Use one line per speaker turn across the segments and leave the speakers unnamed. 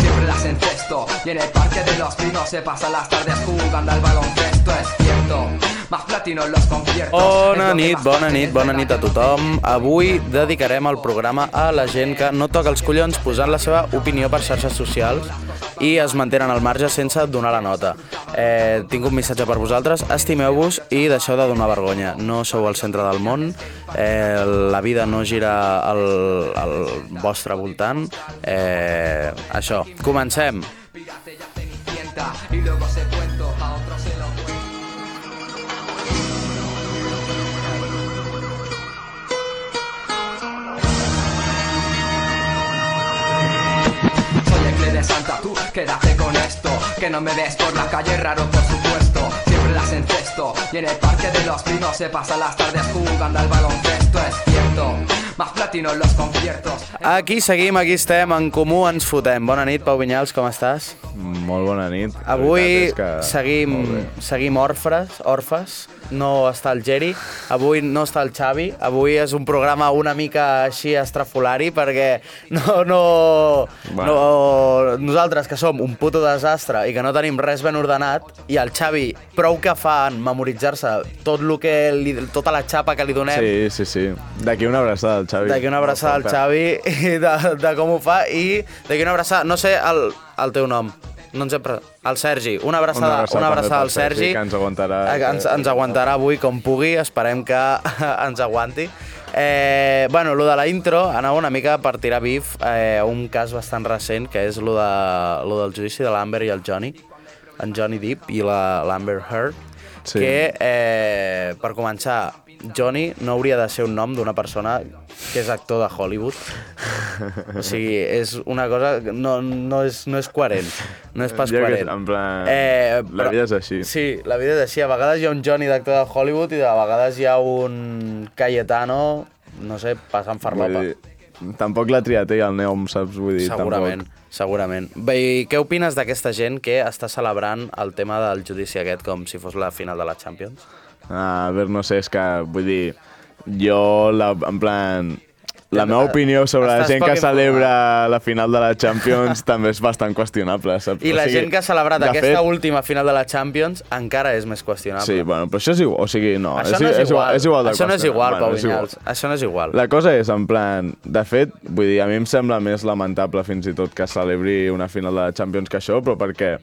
Siempre las encesto. Y en el parque de los pinos se pasan las tardes jugando al baloncesto, es cierto. Más platino en los conciertos.
Bona
Es lo que
nit,
más
bona
tarde
nit, bona nit a tothom. Avui dedicarem el programa a la gent que no toca els collons posant la seva opinió per xarxes socials i es mantenen al marge sense donar la nota. Eh, tinc un missatge per vosaltres, estimeu-vos i deixeu de donar vergonya. No sou el centre del món, eh, la vida no gira al, al vostre voltant. Eh, això, comencem.
Pirate ya cenicienta y luego se cuento, a otro se lo cuento. Soy el Cle de Santa, tú quédate con esto Que no me ves por la calle, raro por supuesto Siempre las encesto Y en el parque de los pinos se pasan las tardes jugando al baloncesto Es cierto, más platino en los conciertos
Aquí seguim, aquí estem, en comú ens fotem. Bona nit, Pau Vinyals, com estàs?
Molt bona nit. La
Avui
veritat és que-
seguim,
Molt bé.
seguim orfres, orfes, no està el Geri, avui no està el Xavi, avui és un programa una mica així estrafolari perquè no, no, no, nosaltres que som un puto desastre i que no tenim res ben ordenat i el Xavi prou que fa en memoritzar-se tot lo que li, tota la xapa que li donem
Sí, sí, sí. D'aquí una abraçada al Xavi.
D'aquí una abraçada al Xavi i de, de com ho fa i d'aquí una abraçada, no sé el, el teu nom, no ens hem pre- al Sergi, una abraçada, una abraçada,
també pel
al Sergi,
que ens aguantarà.
Eh, ens, ens aguantarà avui com pugui, esperem que ens aguanti. Eh, bueno, lo de la intro anava una mica per tirar bif eh, a un cas bastant recent, que és lo, de, lo del judici de l'Amber i el Johnny, en Johnny Depp i la- l'Amber Heard,
Sí.
que, eh, per començar, Johnny no hauria de ser un nom d'una persona que és actor de Hollywood. O sigui, és una cosa... que No, no, és, no és coherent. No és pas
Jo que-
coherent. Eh,
en plan, la vida és així.
Sí, la vida és així. A vegades hi ha un Johnny d'actor de Hollywood i de vegades hi ha un Cayetano, no sé, passant
Vull
farlopa.
dir, Tampoc la triat ell, el Neom, saps? Vull dir,
Segurament,
Tampoc.
segurament. Bé, i què opines d'aquesta gent que està celebrant el tema del judici aquest com si fos la final de la Champions?
Ah, A veure, no sé, és que, vull dir, jo, la, en plan... La meva opinió sobre la
Estàs
gent
poc
que
informat.
celebra la final de la Champions també és bastant qüestionable, saps?
I
O
la
sigui,
gent que ha celebrat
de
aquesta
fet,
última final de la Champions encara és més qüestionable.
Sí, bueno, però això és igual, o sigui, no,
Això no és,
és igual, és igual de
Això no és
qüestionable.
igual, Pau
Bueno, és igual.
Vinyals. Això no és igual.
La cosa és, en plan, de fet, vull dir, a mi em sembla més lamentable fins i tot que celebri una final de la Champions que això, però perquè,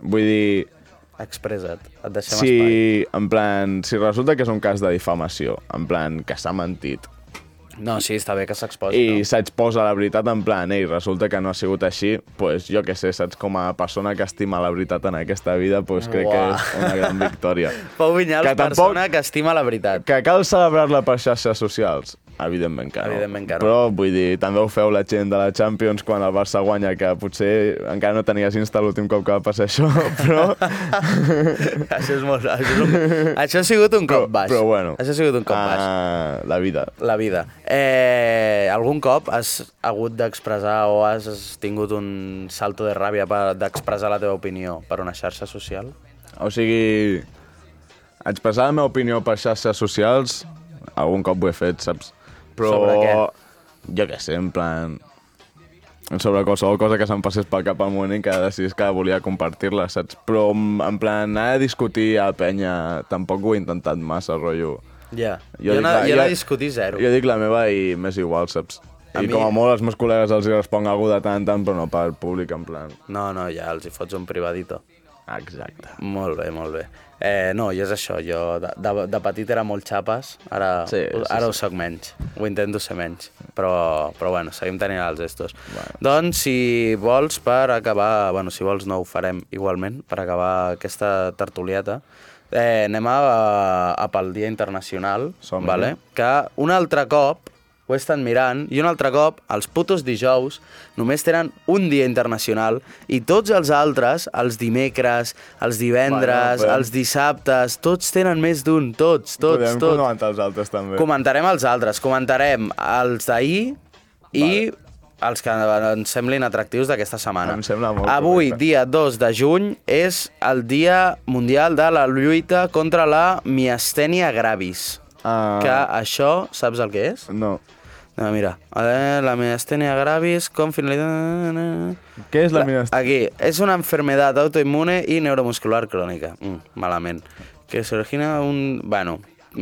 vull dir,
Expressa't, et deixem espai.
si, en plan, si resulta que és un cas de difamació, en plan, que s'ha mentit,
No, sí, està bé que s'exposi.
i
no?
s'exposa la veritat en plan, ei, resulta que no ha sigut així, doncs pues, jo què sé, saps, com a persona que estima la veritat en aquesta vida, doncs pues, crec que
Uah.
és una gran victòria.
Pau Vinyals,
Que tampoc-
persona que estima la veritat.
Que cal celebrar-la per xarxes socials? Evidentment que no.
Evidentment que no.
Però, vull dir, també ho feu la gent de la Champions quan el Barça guanya, que potser encara no tenies Insta l'últim cop que va passar això, però...
això, és molt, això, és un, això ha sigut un cop
però,
baix.
però bueno.
Això ha sigut un cop baix.
ah, La vida.
La vida. Eh, algun cop has hagut d'expressar o has has tingut un salto de ràbia per d'expressar la teva opinió per una xarxa social?
O sigui, expressar la meva opinió per xarxes socials, algun cop ho he fet, saps? Però...
Sobre què?
Jo què sé, en plan... Sobre qualsevol cosa que se'm passés pel cap al moment en què decidís que volia compartir-la, saps? Però, mm, en plan, anar a discutir a penya, tampoc ho he intentat massa, rotllo.
Ja. Jo, jo, no,
la-
jo no discutir zero.
Jo dic la meva i m'és igual, saps?
A
I
mi-
com a molt els meus col·legues els hi responc alguna de tant en tant, però no per públic, en plan...
No, no, ja els hi fots un privadito.
Exacte.
Molt bé, molt bé. Eh, no, i és això, jo de, de, de petit era molt xapes, ara,
Sí, sí,
ara
sí.
ho soc menys, ho intento ser menys, però, però bueno, seguim tenint els estos. Bueno. Doncs, si vols, per acabar, bueno, si vols no ho farem igualment, per acabar aquesta tertulieta, eh, anem a, a pel Dia Internacional,
Som-hi.
vale? que un altre cop ho he estat mirant, i un altre cop, els putos dijous només tenen un dia internacional i tots els altres, els dimecres, els divendres,
Bueno, podem-
els dissabtes, tots tenen més d'un, tots, tots,
Podem
tots.
comentar els altres, també.
Comentarem els altres, comentarem els d'ahir i els que ens semblin atractius d'aquesta setmana.
Em sembla molt
Avui,
correcte.
dia 2 de juny, és el Dia Mundial de la Lluita contra la Miastènia Gravis.
Ah.
Que això, saps el que és?
No.
No, mira, a veure, la miastènia gravis, com finalitat...
Què és la miastènia?
Aquí, és una enfermedad autoimmune i neuromuscular crònica. Mm, malament. Que s'origina un... Bueno,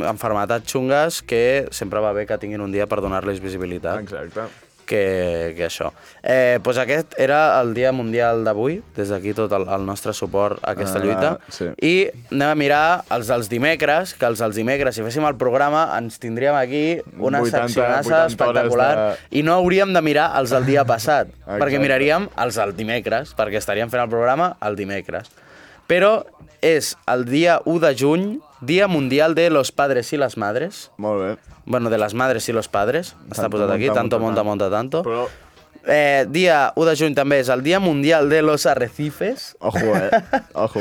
enfermedades xungues que sempre va bé que tinguin un dia per donar-les visibilitat
Exacte.
que, que això. Eh, doncs aquest era el dia mundial d'avui, des d'aquí tot el, el nostre suport a aquesta
Ah,
lluita.
sí.
I anem a mirar els dels dimecres, que els dels dimecres, si féssim el programa, ens tindríem aquí una
80,
seccionassa
80 hores
espectacular
de-
i no hauríem de mirar els del dia passat, perquè
Exacte.
miraríem els del dimecres, perquè estaríem fent el programa el dimecres. Però és el dia 1 de juny, Dia Mundial de los Padres y las Madres.
Molt bé.
Bueno, de las madres y los padres. Està
Tanto
posat aquí,
monta,
tanto monta,
monta,
monta, tanto.
Però,
Eh, dia 1 de juny també és el Dia Mundial de los Arrecifes.
ojo, eh? Ojo.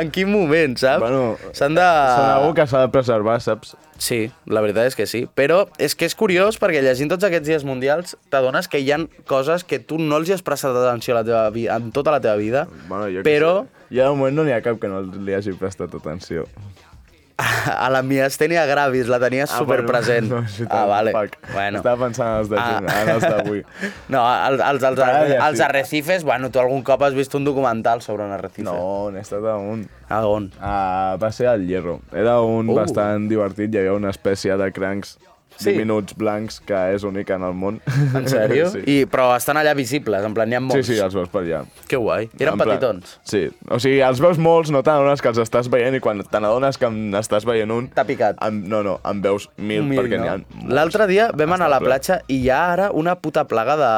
En quin moment, saps?
Bueno,
S'han de...
Segur que s'ha de preservar, saps?
Sí, la veritat és que sí. Però és que és curiós perquè llegint tots aquests dies mundials t'adones que hi han coses que tu no els hi has prestat atenció a la teva vi- en tota la teva vida,
Bueno, jo què
però
Sé. Ja de moment no n'hi ha cap que no li hagi prestat atenció.
a la miastènia gravis la tenies
Ah,
superpresent.
perdó. No, és veritat,
ah, vale.
fuck.
Bueno.
Estava pensant en els de juny, en els d'avui.
Ah. No, els, els, els,
Ara
els,
ja sí.
arrecifes, bueno, tu algun cop has vist un documental sobre un arrecife.
No, n'he estat a un.
A on?
Ah, va ser al Hierro. Era un
Uh.
uh. bastant divertit, hi havia una espècie de crancs
Sí.
sí. diminuts blancs que és única en el món.
En sèrio?
sí.
I, però estan allà visibles, en plan, n'hi ha
sí,
molts.
sí, els veus per allà.
Que guai. Eren
En plan-
petitons.
Sí. O sigui, els veus molts, no t'adones que els estàs veient i quan te n'adones que en estàs veient un...
T'ha picat.
En, no, no, en veus mil, mil perquè n'hi ha... molts.
L'altre dia vam anar a la
Està ple.
platja i hi ha ara una puta plaga de,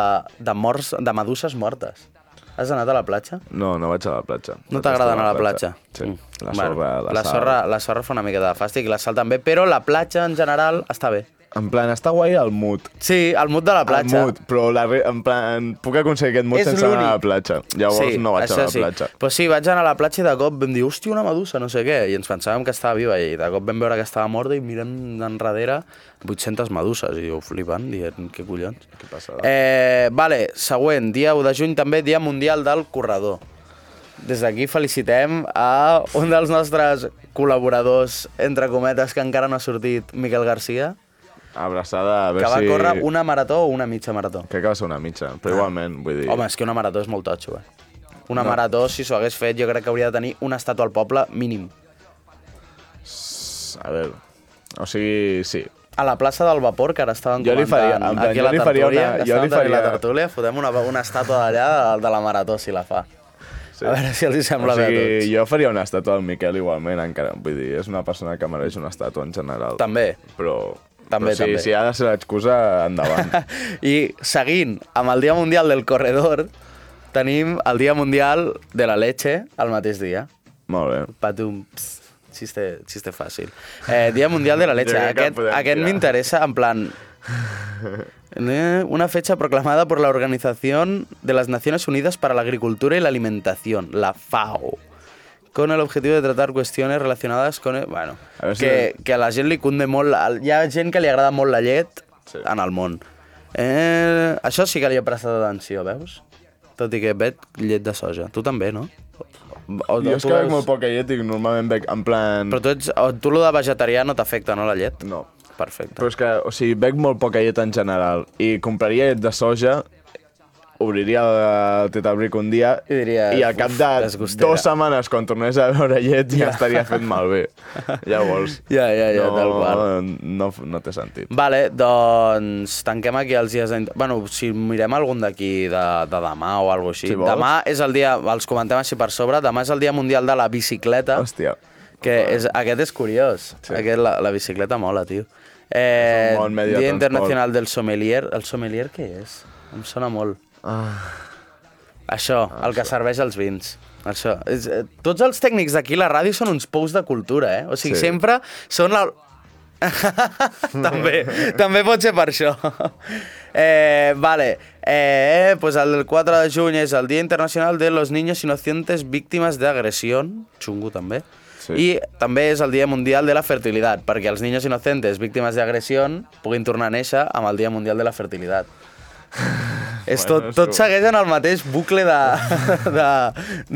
de, morts, de meduses mortes. Has anat a la platja?
No, no vaig a la platja.
No
Vaig estar
t'agrada anar a la platja?
Sí,
Mm.
la
Bueno,
sorra, la,
la,
sal.
sorra, la sorra fa una mica de fàstic, la sal també, però la platja en general està bé.
En plan, està guai el mood.
Sí, el mut de la platja.
El mood, però la, re- en plan, puc aconseguir aquest mood
És
sense anar a
l'únic.
la platja. Llavors no vaig
això
anar a la platja.
Sí. Però sí, vaig anar a la platja i de cop vam dir, hòstia, una medusa, no sé què, i ens pensàvem que estava viva, i de cop vam veure que estava morta i mirem d'enrere 800 meduses, i jo flipant, dient, què collons. Què
passada.
Eh, vale, següent, dia 1 de juny també, dia mundial del corredor. Des d'aquí felicitem a un dels nostres col·laboradors, entre cometes, que encara no ha sortit, Miquel Garcia,
Abraçada, a
que va
veure si...
córrer una marató o una mitja marató.
Crec que va ser una mitja, però igualment, vull dir...
Home, és que una marató és molt totxo, eh? Una marató, si s'ho hagués fet, jo crec que hauria de tenir una estàtua al poble mínim.
A veure... O sigui, sí.
A la plaça del Vapor, que ara estaven
Jo li faria-
comentant
en plan,
aquí a
jo
la
li faria
tertúlia,
una-
que
jo li
estaven tenint la
faria-
tertúlia, fotem una, una estàtua d'allà de, de la marató, si la fa.
sí.
A veure si els hi sembla
o
bé a
sigui,
tots.
jo faria una estàtua al Miquel igualment, encara. Vull dir, és una persona que mereix una estàtua en general.
També.
Però...
També,
però sí,
també.
si ha de ser l'excusa, endavant.
I seguint amb el Dia Mundial del Corredor, tenim el Dia Mundial de la Leche el mateix dia.
Molt bé.
Patum, pss, xiste, xiste fàcil. Eh, Dia Mundial de la Leche.
Jo crec que
Aquest,
podem
aquest
tirar.
m'interessa en plan... Eh, Una fecha proclamada por la Organización de las Naciones Unidas para la Agricultura y la Alimentación, la FAO, con el objetivo de tratar cuestiones relacionadas con... el- Bueno,
A veure si-
que, que a la gent li cunde molt... la- Hi ha gent que li agrada molt la llet
Sí.
en el món. Eh, això sí que li he prestat atenció, veus? Tot i que vet llet de soja. Tu també, no? O,
Jo és
tu
que bec
veus-
molt poca llet i normalment bec en plan...
Però tu, ets, o, tu lo de vegetarià no t'afecta, no, la llet?
No.
Perfecte.
Però és que, o sigui, bec molt poca llet en general i compraria llet de soja, obriria el tetabric un dia
I diries,
i al cap
"Uf,
de
desgustera."
dues setmanes, quan tornés a veure llet, ja, estaria fet malbé. Llavors,
Ja, ja, ja, tal qual.
No, no té sentit.
Vale, doncs tanquem aquí els dies... d'int- Bueno, si mirem algun d'aquí de, de demà o alguna així.
Si vols.
demà és el dia, els comentem així per sobre, demà és el dia mundial de la bicicleta,
Hòstia,
que és, aquest és curiós.
Sí.
Aquest, la, la bicicleta mola, tio. Eh,
És un bon medi de
dia
transport.
Internacional del Sommelier. El Sommelier què és? Em sona molt.
Ah.
Això, el que serveix als vins. Això. És, eh, tots els tècnics d'aquí a la ràdio són uns pous de cultura, eh? O sigui,
Sí.
sempre són la... també, també pot ser per això. Eh, vale, eh, pues el 4 de juny és el Dia Internacional de los Niños Inocentes Víctimes d'Agressió, xungo també, sí.
Sí.
i també és el Dia Mundial de la Fertilitat, perquè els niños inocentes víctimes d'agressió puguin tornar a néixer amb el Dia Mundial de la Fertilitat. És tot,
Bueno,
tot
això-
segueix en el mateix bucle de, de,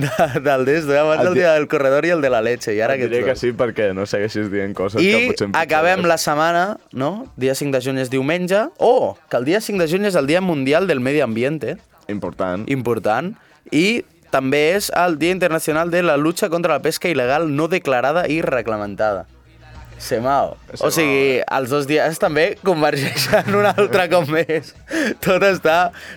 de, del des, abans
Et
el
di-
dia del corredor i el de la leche, i ara
Ara
aquests
diré que
dos.
sí perquè no segueixis dient coses que
I
potser... em
acabem
picaràs.
la setmana, no? Dia 5 de juny és diumenge. Oh, que el dia 5 de juny és el Dia Mundial del Medi Ambiente,
Important.
important. I també és el Dia Internacional de la Lucha contra la Pesca Il·legal No Declarada i Reglamentada. Semao.
Semao, eh.
O sigui, els dos dies també convergeixen un altre cop més. Tot està,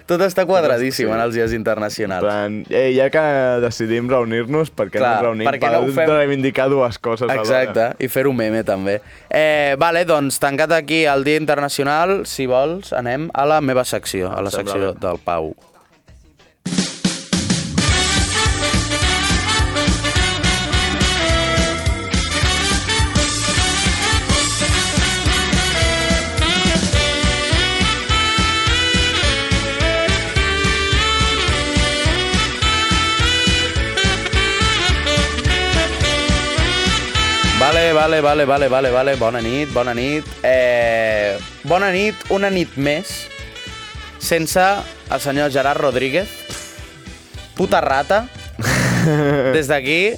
tot està quadradíssim en els dies
En
internacionals.
plan, ei, ja que decidim reunir-nos, per què
Clar,
no ens reunim
perquè no ho fem.
reivindicar dues coses
Exacte, i fer un meme també. Eh, vale, doncs tancat aquí el Dia Internacional, si vols, anem a la meva secció, a la
sembla
secció
bé.
del Pau. Vale, vale, vale, vale, vale, vale, bona nit, bona nit. Eh, bona nit, una nit més, sense el senyor Gerard Rodríguez, puta rata, des d'aquí,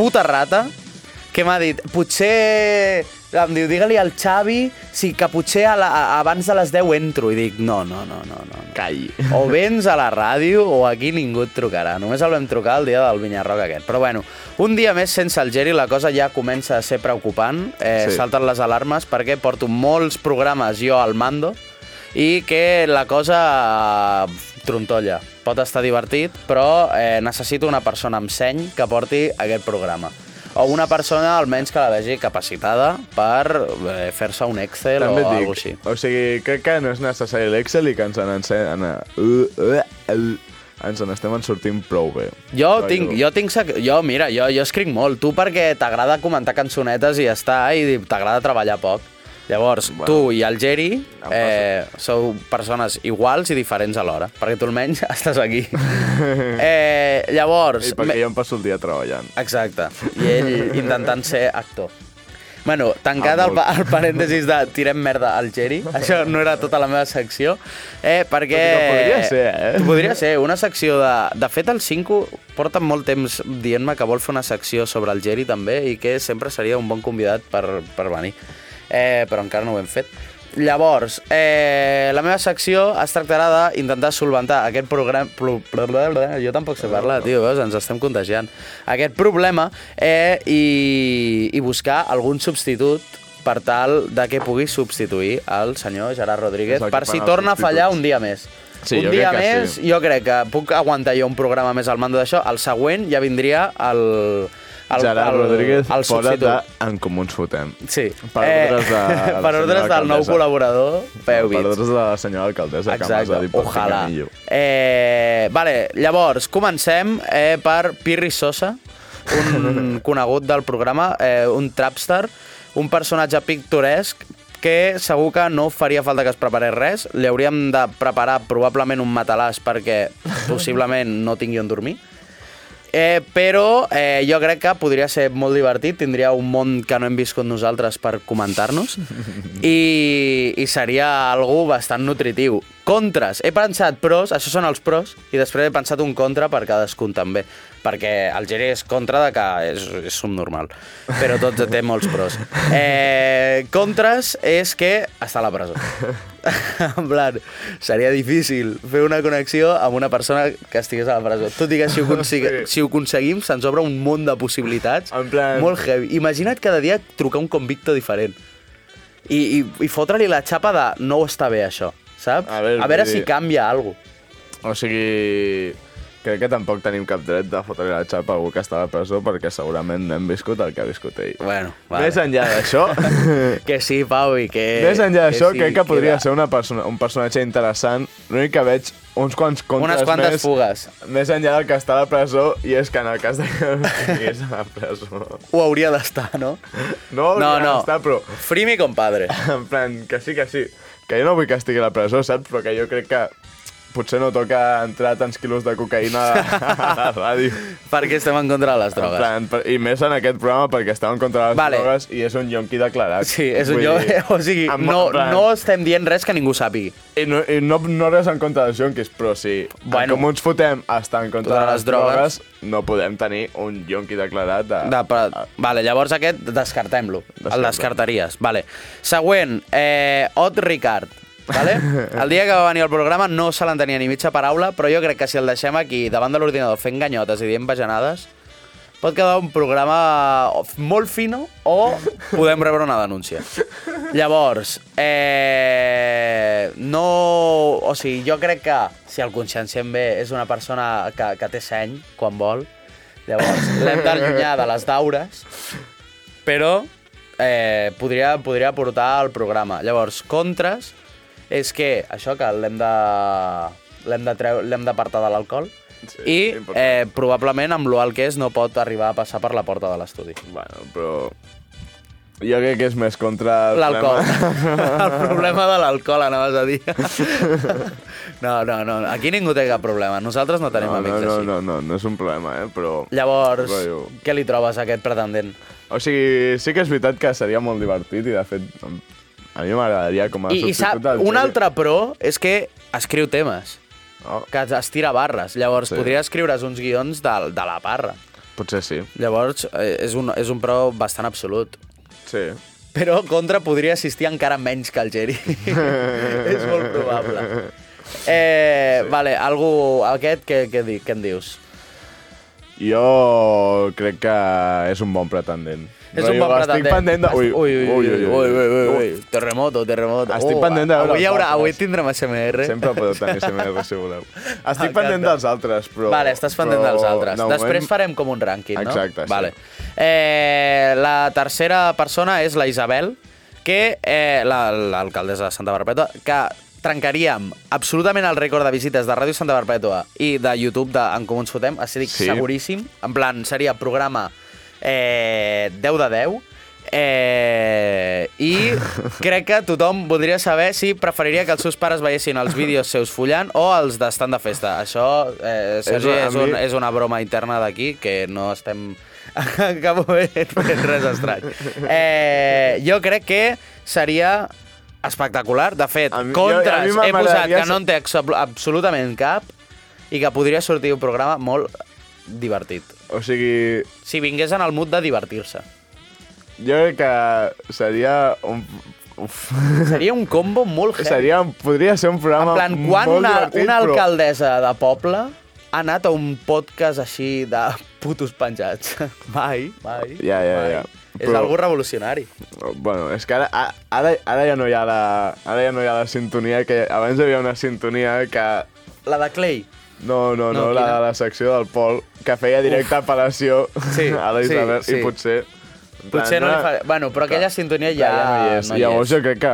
puta rata, que m'ha dit, potser... Em diu, digue-li al Xavi si que potser a la, a, abans de les 10 entro. I dic, no, no, no, no, no. no.
Call.
O vens a la ràdio o aquí ningú et trucarà. Només el vam trucar el dia del Vinyarroc aquest. Però bueno, un dia més sense el Geri la cosa ja comença a ser preocupant. Eh,
Sí.
sí. Salten les alarmes perquè porto molts programes jo al mando i que la cosa eh, trontolla. Pot estar divertit, però eh, necessito una persona amb seny que porti aquest programa. O una persona almenys que la vegi capacitada per eh, fer-se un Excel o
També et
alguna
dic,
així.
o sigui, crec que no és necessari l'Excel i que ens en, en, en, en, ens en estem en sortint prou bé.
Jo
Rotllo.
tinc, jo tinc, sec- jo, mira, jo, jo escric molt. Tu perquè t'agrada comentar cançonetes i ja està, i t'agrada treballar poc. Llavors, bueno, tu i el Geri eh, sou persones iguals i diferents alhora, perquè tu almenys estàs aquí. eh, llavors...
I perquè
me-
jo em passo el dia treballant.
Exacte, i ell intentant ser actor. Bueno, tancat
Ah,
el,
molt.
pa- el parèntesis de tirem merda al Geri, això no era tota la meva secció, eh, perquè...
podria ser, eh?
Podria ser, una secció de... De fet, el 5 porta molt temps dient-me que vol fer una secció sobre el Geri també i que sempre seria un bon convidat per, per venir, eh, però encara no ho hem fet. Llavors, eh, la meva secció es tractarà d'intentar solventar aquest programa... Jo tampoc sé parlar, tio, veus? Ens estem contagiant. Aquest problema eh, i, i buscar algun substitut per tal de que pugui substituir el senyor Gerard Rodríguez
És el que
per
fan
si
els
torna a fallar
substituts.
un dia més.
Sí,
un
jo
dia
crec que
més,
sí.
jo crec que puc aguantar jo un programa més al mando d'això. El següent ja vindria el... el
Gerard
el,
Rodríguez,
el
fora
substitut.
de En Comú Ens Fotem.
Sí. Eh,
Per ordres de la
per
senyora
ordres del nou
alcaldessa.
col·laborador, Peu
Per
Bits.
ordres de la senyora alcaldessa, que m'has
Exacte,
dit per
ojalà.
Pinganillo.
Eh, vale, llavors, comencem eh, per Pirri Sosa, un conegut del programa, eh, un trapstar, un personatge pictoresc que segur que no faria falta que es preparés res. Li hauríem de preparar probablement un matalàs perquè possiblement no tingui on dormir. Eh, però eh, jo crec que podria ser molt divertit, tindria un món que no hem viscut nosaltres per comentar-nos i, i seria algú bastant nutritiu. Contres. He pensat pros, això són els pros, i després he pensat un contra per cadascun també, perquè el Geri és contra de que és, és subnormal, però tot té molts pros. Eh, contres és que està a la presó. en plan, seria difícil fer una connexió amb una persona que estigués a la presó. Tot i que si ho, consigue, si ho aconseguim se'ns obre un món de possibilitats
En plan-
molt heavy. Imagina't cada dia trucar un convicte diferent i, i, i fotre-li la xapa de no està bé això, saps?
A veure,
a veure
vull
si
dir-
canvia alguna
O sigui, Crec que tampoc tenim cap dret de fotre la xapa a algú que està a la presó perquè segurament no hem viscut el que ha viscut ell.
Bueno, vale.
Més enllà d'això,
Que sí, Pau, i que...
més enllà d'això, crec que podria
era
ser una persona, un personatge interessant. L'únic que veig uns quants contes
Unes quantes
més,
fugues.
més enllà del que està a la presó, i és que en el cas de que no estigués a la presó...
Ho hauria d'estar, no?
No,
No,
ja
no.
Està, però
Free mi compadre.
En plan, que sí, que sí. Que jo no vull que estigui a la presó, saps? Però que jo crec que potser no toca entrar tants quilos de cocaïna a la ràdio.
Perquè estem en contra de les
En
drogues.
plan, per- I més en aquest programa perquè estàvem contra les
Vale.
drogues i és un yonqui declarat.
Sí, és un
Vull
jo...
dir,
O sigui,
en-
no,
en plan,
no estem dient res que ningú sàpigui.
I no, i no, no res en contra dels yonquis, però sí.
Bueno.
Bueno, com ens fotem a estar en contra
Totes
de les,
les drogues.
drogues, no podem tenir un yonqui declarat de... Ah,
De, però, vale, llavors aquest descartem-lo. El
Descartem.
descartaries, vale. Següent, eh, Ot Ricard. Vale? El dia que va venir al programa no se l'entenia ni mitja paraula, però jo crec que si el deixem aquí davant de l'ordinador fent ganyotes i dient bajanades, pot quedar un programa molt fino o podem rebre una denúncia. Llavors, eh, no... O sigui, jo crec que, si el conscienciem bé, és una persona que, que té seny quan vol. Llavors, l'hem d'allunyar de les daures, però eh, podria, podria portar al programa. Llavors, contres és que això que l'hem de... L'hem de treu- l'hem d'apartar de l'alcohol
Sí,
i
important.
eh, probablement amb l'oal que és no pot arribar a passar per la porta de l'estudi.
Bueno, però... Jo crec que és més contra... el
L'alcohol.
problema-
El problema de l'alcohol, anaves a dir. No, no, no. Aquí ningú té cap problema. Nosaltres no tenim
no,
amics
no,
així.
No, no, no, no és un problema, eh? Però...
Llavors,
Rotllo.
què li trobes a aquest pretendent?
O sigui, sí que és veritat que seria molt divertit i, de fet, a mi m'agradaria com a
I, i sap,
substitut del
un
Juli.
altre pro és que escriu temes,
Oh,
que es tira barres. Llavors,
Sí.
podria escriure's uns guions de, de la barra.
potser sí.
Llavors, eh, és un, és un pro bastant absolut.
Sí.
Però contra podria assistir encara menys que el Geri. és molt probable. Eh, sí. Vale, algú, aquest, què, què, di, què en dius?
Jo crec que és un bon pretendent.
És
Rotllo,
un bon pretendent.
Estic pendent de...
Ui, ui, ui, ui, ui, ui, ui, ui. Terremoto, terremoto. Uh,
Estic pendent de veure
Avui, hi
els
haurà, avui
altres.
tindrem SMR.
Sempre podeu tenir CMR si voleu. Estic
M'encanta.
pendent dels altres, però...
Vale, estàs pendent
però
dels altres.
de
No,
moment-
Després farem com un rànquing, no?
Exacte, sí.
Vale. Eh, la tercera persona és la Isabel, que eh, la- l'alcaldessa de Santa Barpètua, que trencaríem absolutament el rècord de visites de Ràdio Santa Barpètua i de YouTube de En Comú Ens Fotem, així dic,
Sí.
seguríssim. En plan, seria programa eh, 10 de 10, Eh, i crec que tothom voldria saber si preferiria que els seus pares veiessin els vídeos seus follant o els d'estant de festa. Això eh, Sergi,
a
és, un,
mi-
és una broma interna d'aquí que no estem en cap moment fent res estrany. Eh, jo crec que seria espectacular. De fet,
A mi- jo- a mi
contres he posat
m'agradaria
que no en té abso- absolutament cap i que podria sortir un programa molt divertit.
O sigui,
Si vingués en el mood de divertir-se.
jo crec que seria un... Uf.
Seria un combo molt heavy.
Seria, podria ser un
En
programa
plan, quan
Mm, molt
una,
divertit,
una
però...
alcaldessa de poble ha anat a un podcast així de putos penjats. Mai, mai.
Ja, ja,
mai.
ja.
És
Però-
algú revolucionari.
Bueno, és que ara, a- ara, ara, ja no hi ha la, ara ja no hi ha la sintonia, que abans hi havia una sintonia que...
La de Clay.
No, no,
No,
no, no la
quina?
de la secció del Pol, que feia directa apel·lació
Sí,
a la
sí,
Isabel,
sí.
i potser... en
Potser
plan,
no, li
era-
fa... Bueno, però aquella sintonia ja,
ja no hi és.
No hi
Llavors
és.
jo crec que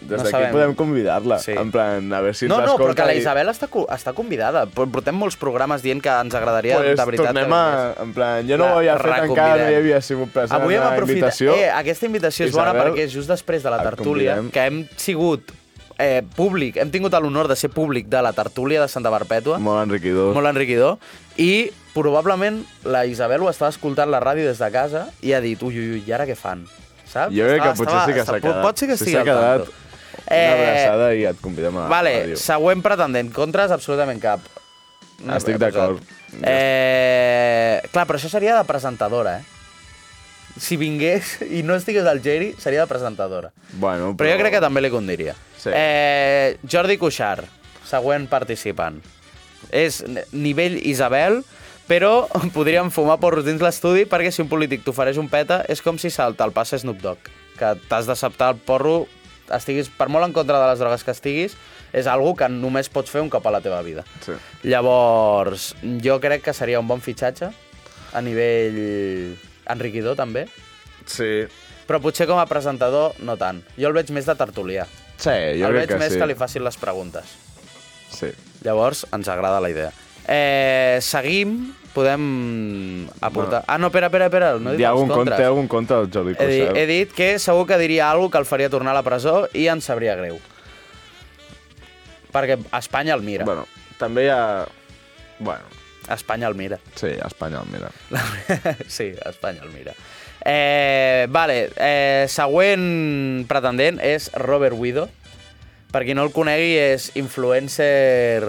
des
No
d'aquí
sabem.
podem convidar-la,
Sí.
sí. en plan, a veure si
No,
ens
no, però
escolta
que la
i-
Isabel està, co- està convidada. Por- Portem molts programes dient que ens agradaria,
Pues,
de veritat.
tornem
que
a...
vingués.
En plan, jo no
La
ho havia fet encara, no
reconvidem.
hi havia sigut present
Avui hem
a la
aprofitat...
invitació.
Eh, aquesta invitació és bona
Isabel,
perquè és just després de la
et
tertúlia
convidem.
que hem sigut eh, públic, hem tingut l'honor de ser públic de la tertúlia de Santa Perpètua, molt,
Molt enriquidor.
molt enriquidor, i probablement la Isabel ho estava escoltant la ràdio des de casa i ha dit, ui, ui, ui, i ara què fan? Saps?
Jo crec que
Estava-
potser sí que
estava-
s'ha quedat.
Pot ser que
Si
estigui
s'ha
al
quedat,
tanto. Eh,
Una abraçada i et convidem a...
Vale,
a dir-ho.
següent pretendent. Contres, absolutament cap. No
Estic
he posat.
d'acord.
Eh, clar, però això seria de presentadora, eh? Si vingués i no estigués al Geri, seria de presentadora.
Bueno,
Però jo crec que també li condiria.
Sí.
Eh, Jordi Cuixart, següent participant. És n- nivell Isabel, però podríem fumar porros dins l'estudi perquè si un polític t'ofereix un peta és com si se'l te'l passa Snoop Dogg, que t'has d'acceptar el porro estiguis per molt en contra de les drogues que estiguis, és algo que només pots fer un cop a la teva vida.
Sí.
Llavors, jo crec que seria un bon fitxatge a nivell enriquidor, també.
Sí.
Però potser com a presentador, no tant. Jo el veig més de tertulià.
Sí, jo
el
crec
veig
que
més
sí.
que li facin les preguntes.
Sí.
Llavors, ens agrada la idea. Eh, seguim, podem aportar... Ah, no, espera, espera, espera. No he dit
Hi ha algun
els
conte,
contres.
té algun conte del Jordi
he, di-
Cuixart?
he dit que segur que diria alguna que el faria tornar a la presó i ens sabria greu. Perquè Espanya el mira.
Bueno, també hi ha... Bueno,
Espanya el mira.
sí, Espanyol, mira.
sí, Espanya el mira. Eh, vale, eh, següent pretendent és Robert Guido. Per qui no el conegui, és influencer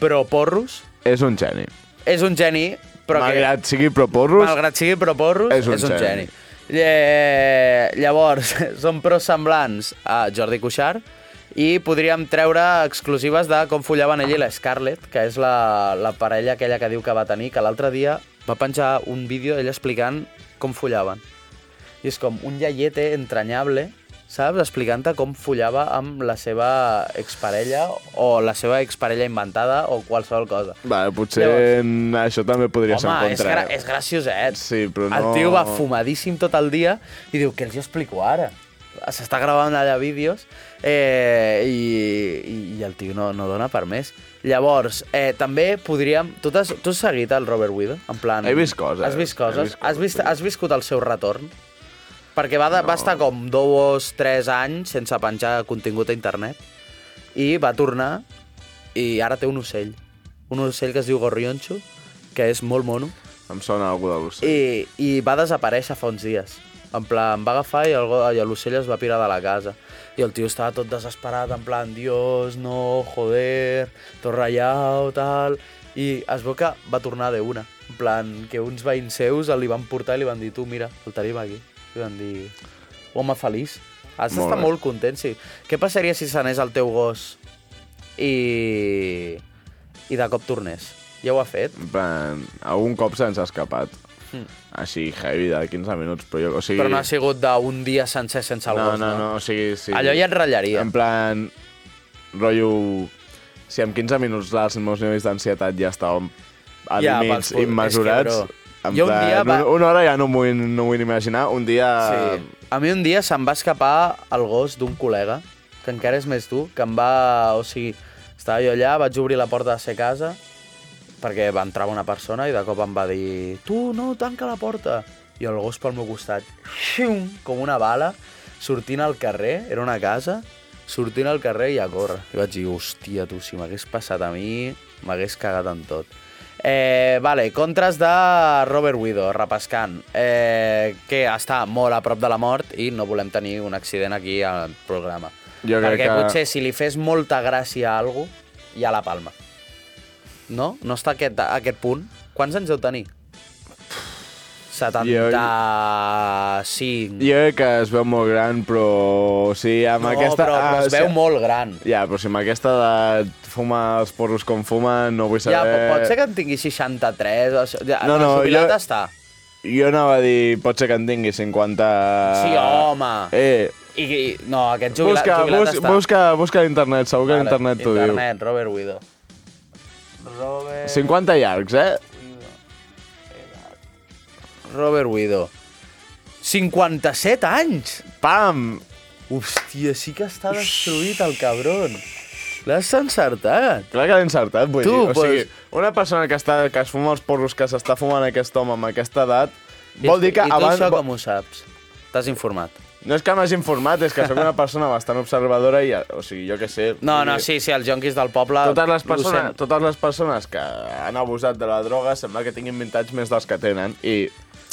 pro porros.
És un geni.
És un geni, però
Malgrat sigui pro
que,
porros,
malgrat sigui pro porros,
és un
és un geni.
geni.
Eh, llavors, són pros semblants a Jordi Cuixart i podríem treure exclusives de com follaven ell i la Scarlett, que és la, la parella aquella que diu que va tenir, que l'altre dia va penjar un vídeo ell explicant com follaven. I és com un iaiete entranyable, saps? Explicant-te com follava amb la seva exparella o la seva exparella inventada o qualsevol cosa.
vale, potser això també podria ser un
Home, és,
contra. eh.
gra és gracioset.
Sí, però
El
no-
tio va fumadíssim tot el dia i diu, què els jo explico ara? S'està gravant allà vídeos eh, i, i, i el tio no, no dona per més. Llavors, eh, també podríem... Tu has, tu has seguit el Robert Widow? En plan...
He vist coses,
Has vist
he
coses?
vist
Has, vist,
coses.
has viscut el seu retorn? Perquè va, de, no. va estar com dos, tres anys sense penjar contingut a internet i va tornar i ara té un ocell. Un ocell que es diu Gorrionxo, que és molt mono,
Em sona algú de l'ocell.
i, i va desaparèixer fa uns dies. En plan, va agafar i algo- i l'ocell es va pirar de la casa. I el tio estava tot desesperat, en plan, Dios, no, joder, tot ratllau, tal... I es veu que va tornar de una. En plan, que uns veïns seus el li van portar i li van dir, tu, mira, el tenim aquí. I van dir, home feliç. Has
Molt
d'estar
bé.
molt content, sí. Què passaria si s'anés el teu gos i... i de cop tornés? Ja ho ha fet?
En plan, algun cop se'ns ha escapat. Així, heavy, de 15 minuts, però jo... O sigui,
Hmm. Però no ha sigut d'un dia sencer sense el
no,
gos,
no, no, o sigui, sí.
Allò ja et ratllaria.
En plan, rotllo... Si en 15 minuts els meus nivells d'ansietat ja estaven a
Ja,
ja,
pels
límits
cul-
immesurats,
és que, bro,
en
jo un
plan,
dia va-
una hora ja no m'ho no vull imaginar, un dia...
Sí. A mi un dia se'm va escapar el gos d'un col·lega, que encara és més dur, que em va... O sigui, estava jo allà, vaig obrir la porta de ser casa, perquè va entrar una persona i de cop em va dir tu, no, tanca la porta. I el gos pel meu costat, xium, com una bala, sortint al carrer, era una casa, sortint al carrer i a córrer. I vaig dir, hòstia, tu, si m'hagués passat a mi, m'hagués cagat en tot. Eh, vale, contres de Robert Widow, repescant, eh, que està molt a prop de la mort i no volem tenir un accident aquí al programa.
Jo crec
Perquè
que-
potser si li fes molta gràcia a algú, ja la palma. No? No està a aquest, a aquest punt? Quants anys deu tenir? 75...
Jo crec que es veu molt gran, però... Sí, amb
no,
aquesta... ah,
però, però es
sí.
veu molt gran.
Ja, però si amb aquesta edat fuma els porros com fuma, no vull
Ja,
saber...
pot, pot ser que en tingui 63, o... això- ja,
No, no,
jubilat
jo-
està.
Jo anava a dir, pot ser que en tingui 50...
Sí, home.
Eh,
I, i no, aquest jubilat,
busca,
jubilat
bus,
està.
busca, busca a internet, segur que a internet t'ho diu.
Internet, Robert Guido. Robert...
50 llargs, eh?
Robert Guido. 57 anys!
Pam!
Hòstia, sí que està destruït el cabron. L'has encertat.
Clar que l'he encertat, vull
Tu,
dir. O
pues-
sigui, una persona que, està, que es fuma els porros que s'està fumant aquest home amb aquesta edat, vol dir que
I tu
abans...
això
vo-
com ho saps? T'has informat.
No és que m'hagi informat, és que sóc una persona bastant observadora i, o sigui, jo què sé...
No,
vull
no,
dir-
sí, sí, els jonquis del poble...
totes les,
ho
persones,
sent.
totes les persones que han abusat de la droga sembla que tinguin 20 anys més dels que tenen i...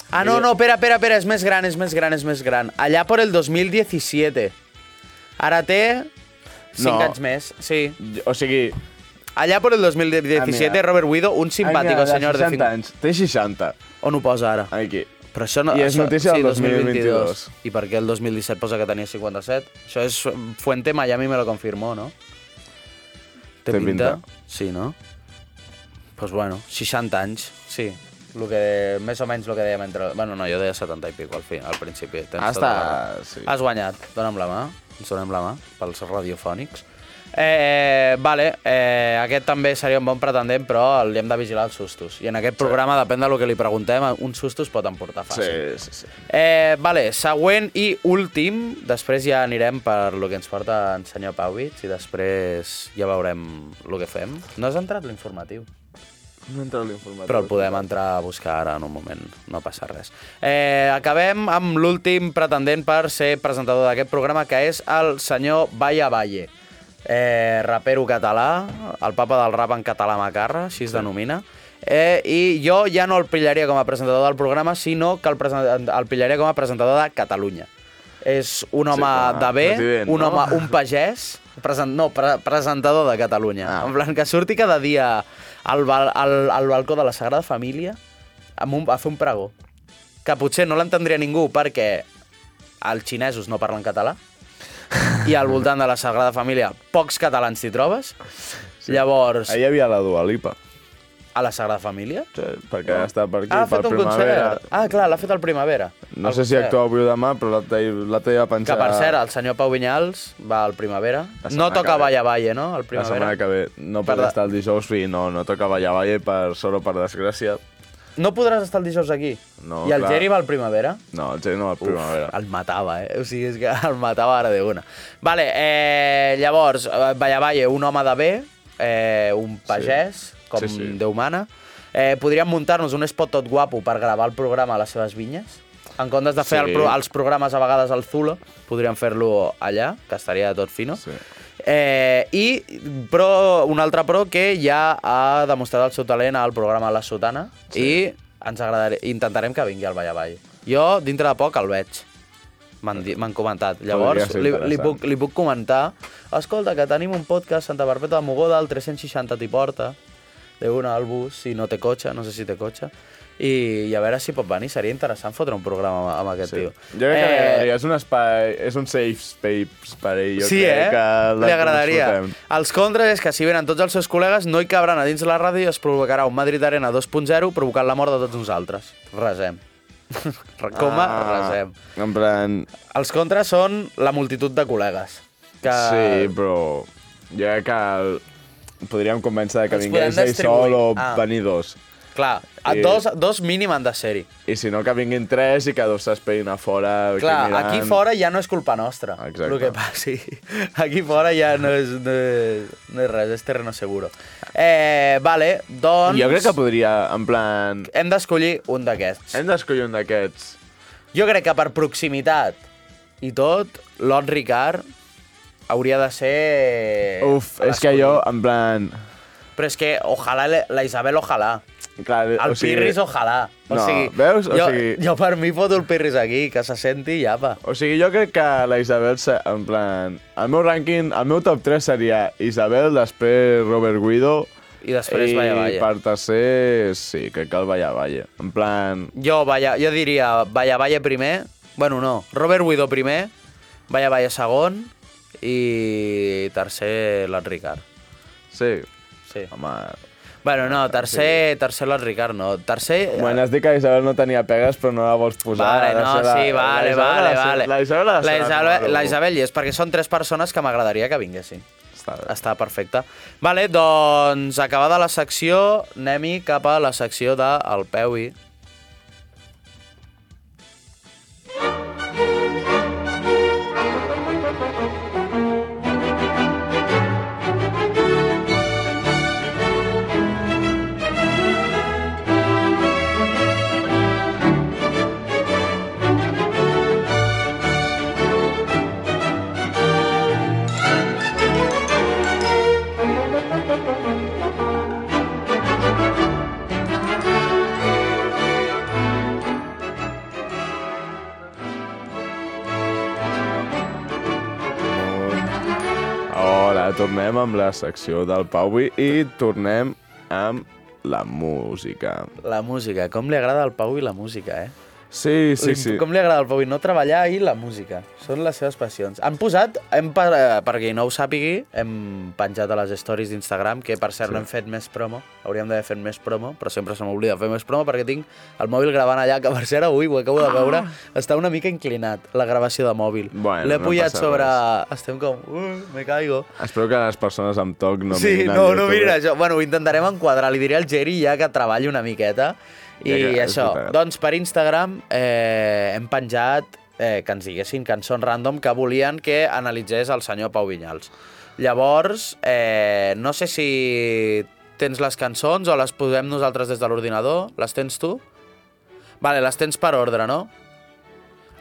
Ah, no, no, espera, espera, espera, és més gran, és més gran, és més gran. Allà per el 2017. Ara té 5
No.
anys més, sí.
O sigui...
Allà per el 2017,
Ah, mira.
Robert Guido, un simpàtico
ai, mira, de
senyor de
60
50...
anys. Té 60,
On ho posa ara?
aquí.
Però això no,
I és
això,
notícia del 2022.
I per què el 2017 posa que tenia 57? Això és... Fuente Miami me lo confirmó, no?
Té pinta.
Sí, no? Doncs pues bueno, 60 anys, sí. Lo que, més o menys el que dèiem entre... Bueno, no, jo deia 70 i pico al, fi, al principi. Tens
Ah,
tota la
està-
raó.
sí.
Has guanyat. Dóna'm la mà. Ens donem la mà pels radiofònics. Eh, vale, eh, aquest també seria un bon pretendent, però li hem de vigilar els sustos. I en aquest programa, depèn del que li preguntem, un sustos pot emportar
Sí,
fàcil.
sí, sí.
Eh, vale, següent i últim. Després ja anirem per lo que ens porta en senyor Pauwitz i després ja veurem el que fem. No has entrat l'informatiu,
No entra l'informatiu.
però el podem entrar a buscar ara en un moment. No passa res. Eh, acabem amb l'últim pretendent per ser presentador d'aquest programa, que és el senyor Valle Valle. Eh, rapero català, el papa del rap en català macarra, així es denomina. Eh, I jo ja no el pillaria com a presentador del programa, sinó que el, presen- el pillaria com a presentador de Catalunya. És un home
clar,
de bé,
president,
un
no?
home, un pagès, present, no, pre presentador de Catalunya.
Ah.
En plan, que surti cada dia al, bal- al, al balcó de la Sagrada Família amb un, a fer un pregó. Que potser no l'entendria ningú perquè els xinesos no parlen català i al voltant de la Sagrada Família pocs catalans t'hi trobes. Sí. Llavors,
Ahir hi havia la Dua Lipa,
a la Sagrada Família...
sí, perquè no. està per aquí,
Ah, ha
per
fet un
primavera.
concert. Ah, clar, l'ha fet al Primavera.
No
El
sé si
concert.
actua avui o demà, però l'altre dia- l'altre dia va
Que,
pensar...
per cert, el senyor Pau Vinyals va al Primavera. No
La setmana
toca
que ve.
Valle Valle, no? Al
La
Primavera.
setmana que ve no
Per
podré
la-
estar el dijous, i no, no toca ballar balle per sort o per desgràcia.
No podràs estar el dijous aquí.
No,
I el
clar.
Geri va al Primavera.
No, el Geri no va al primavera.
El matava, eh? O sigui, és que el matava ara de una. Vale, eh, llavors, eh, Valle Valle, un home de bé, eh, un pagès, sí. com sí,
Sí,
sí.
sí.
Déu mana. Eh, podríem muntar-nos un spot tot guapo per gravar el programa a les seves vinyes. En comptes de fer sí.
Sí.
el pro els programes a vegades al Zulo, podríem fer-lo allà, que estaria tot fino.
Sí.
Eh, I pro, un altre pro que ja ha demostrat el seu talent al programa La Sotana sí. i ens agradaria, intentarem que vingui al Vall Avall. Jo, dintre de poc, el veig. M'han di- m'han comentat. Llavors,
ser
li, li,
interessant.
puc, li puc comentar escolta, que tenim un podcast Santa Perpètua de Mogoda, el 360 t'hi porta, de una al bus, si no té cotxe, no sé si té cotxe, i, i a veure si pot venir, seria interessant fotre un programa amb, amb aquest
Sí.
tio. Eh,
Jo crec que li agradaria, és un espai, és un safe space per ell, jo
sí,
crec
eh?
que la-
Li agradaria.
disfrutem.
Els contres és que si venen tots els seus col·legues no hi cabran a dins la ràdio i es provocarà un Madrid Arena 2.0 provocant la mort de tots nosaltres. Resem. Coma, ah. resem.
En plan,
Els contres són la multitud de col·legues. Que...
sí, però jo crec que el- podríem convèncer que
Els
vingués
podem
ell sol o
distribuir. Ah.
venir dos.
Clar, a
I-
dos, dos mínim han de ser-hi.
I si no, que vinguin tres i que dos s'esperin a fora. que
Clar,
mirant.
aquí fora ja no és culpa nostra,
Exacte.
el que passi. Aquí fora ja no és, no és, no és res, és terreno seguro. Eh, vale, doncs...
Jo crec que podria, en plan...
Hem d'escollir un d'aquests.
Hem d'escollir un d'aquests.
Jo crec que per proximitat i tot, l'On Ricard hauria de ser... Eh,
Uf, és que jo, en plan...
Però és que ojalà le- la Isabel ojalà.
Clar,
El o sigui... Pirris ojalà. O
Eh, No,
sigui,
veus? O
jo,
sigui-
jo per mi foto el Pirris aquí, que se senti i apa.
O sigui, jo crec que la Isabel, se- en plan... El meu rànquing, el meu top 3 seria Isabel, després Robert Guido...
I després Valla Valle.
I per tercer, sí, crec que el Valla Valle. En plan...
Jo, vaya, jo diria Vaya Vaya primer, bueno, no, Robert Guido primer, Vaya Vaya segon i tercer l'On Ricard.
Sí,
Sí.
home...
Bueno, no, tercer, tercer l'On Ricard, no. Tercer... eh,
Bueno, has dit que la Isabel no tenia pegues, però no la vols posar.
Vale,
ha de
no,
ser la-
sí,
la
vale,
Isabel ha de
vale,
ser-
vale.
La Isabel ha de ser
la Isabel,
número
la
u.
Isabel hi és, perquè són tres persones que m'agradaria que vinguessin.
Està bé.
Està perfecte. Vale, doncs, acabada la secció, anem-hi cap a la secció de El Peu i...
Hola, tornem amb la secció del Pauvi i tornem amb la música.
La música. Com li agrada al Pau i la música, eh?
Sí, sí, sí.
Com li agrada al Pau i no treballar i la música. Són les seves passions. Han posat, hem, per, eh, perquè no ho sàpigui, hem penjat a les stories d'Instagram, que per cert sí. no hem fet més promo, hauríem d'haver fet més promo, però sempre se m'oblida fer més promo perquè tinc el mòbil gravant allà, que per cert avui ho acabo de veure, està una mica inclinat, la gravació de mòbil.
Bueno,
L'he
no
pujat
passa
sobre... Estem com... Uh, me caigo.
Espero que les persones amb toc no
sí,
mirin al
no, no
YouTube.
mirin això. Bueno, ho intentarem enquadrar. Li diré al Geri ja que treballi una miqueta. I
Ja que
ja
has
això,
portat.
doncs per Instagram eh, hem penjat eh, que ens diguessin cançons random que volien que analitzés el senyor Pau Vinyals. Llavors, eh, no sé si tens les cançons o les posem nosaltres des de l'ordinador. Les tens tu? Vale, les tens per ordre, no?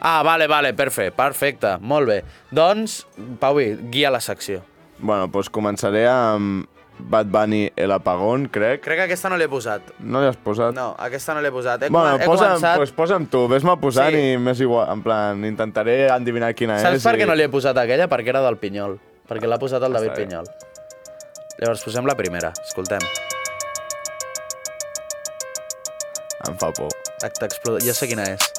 Ah, vale, vale, perfecte, perfecte, molt bé. Doncs, Pauvi, guia la secció.
Bueno, doncs començaré amb Bad Bunny El Apagón, crec.
Crec que aquesta no l'he posat.
No l'has posat?
No, aquesta no l'he posat. eh? He,
Bueno,
comen- he
posa'm,
començat...
pues posa'm tu, ves-me
Sí.
posant sí. i m'és igual, en plan, intentaré endevinar quina és.
Saps per què
i-
no l'he posat aquella? Perquè era del Pinyol. Perquè l'ha posat el David
està bé.
Pinyol. Llavors posem la primera, escoltem.
Em fa por.
Tac, tac, exploda. Ja sé quina és.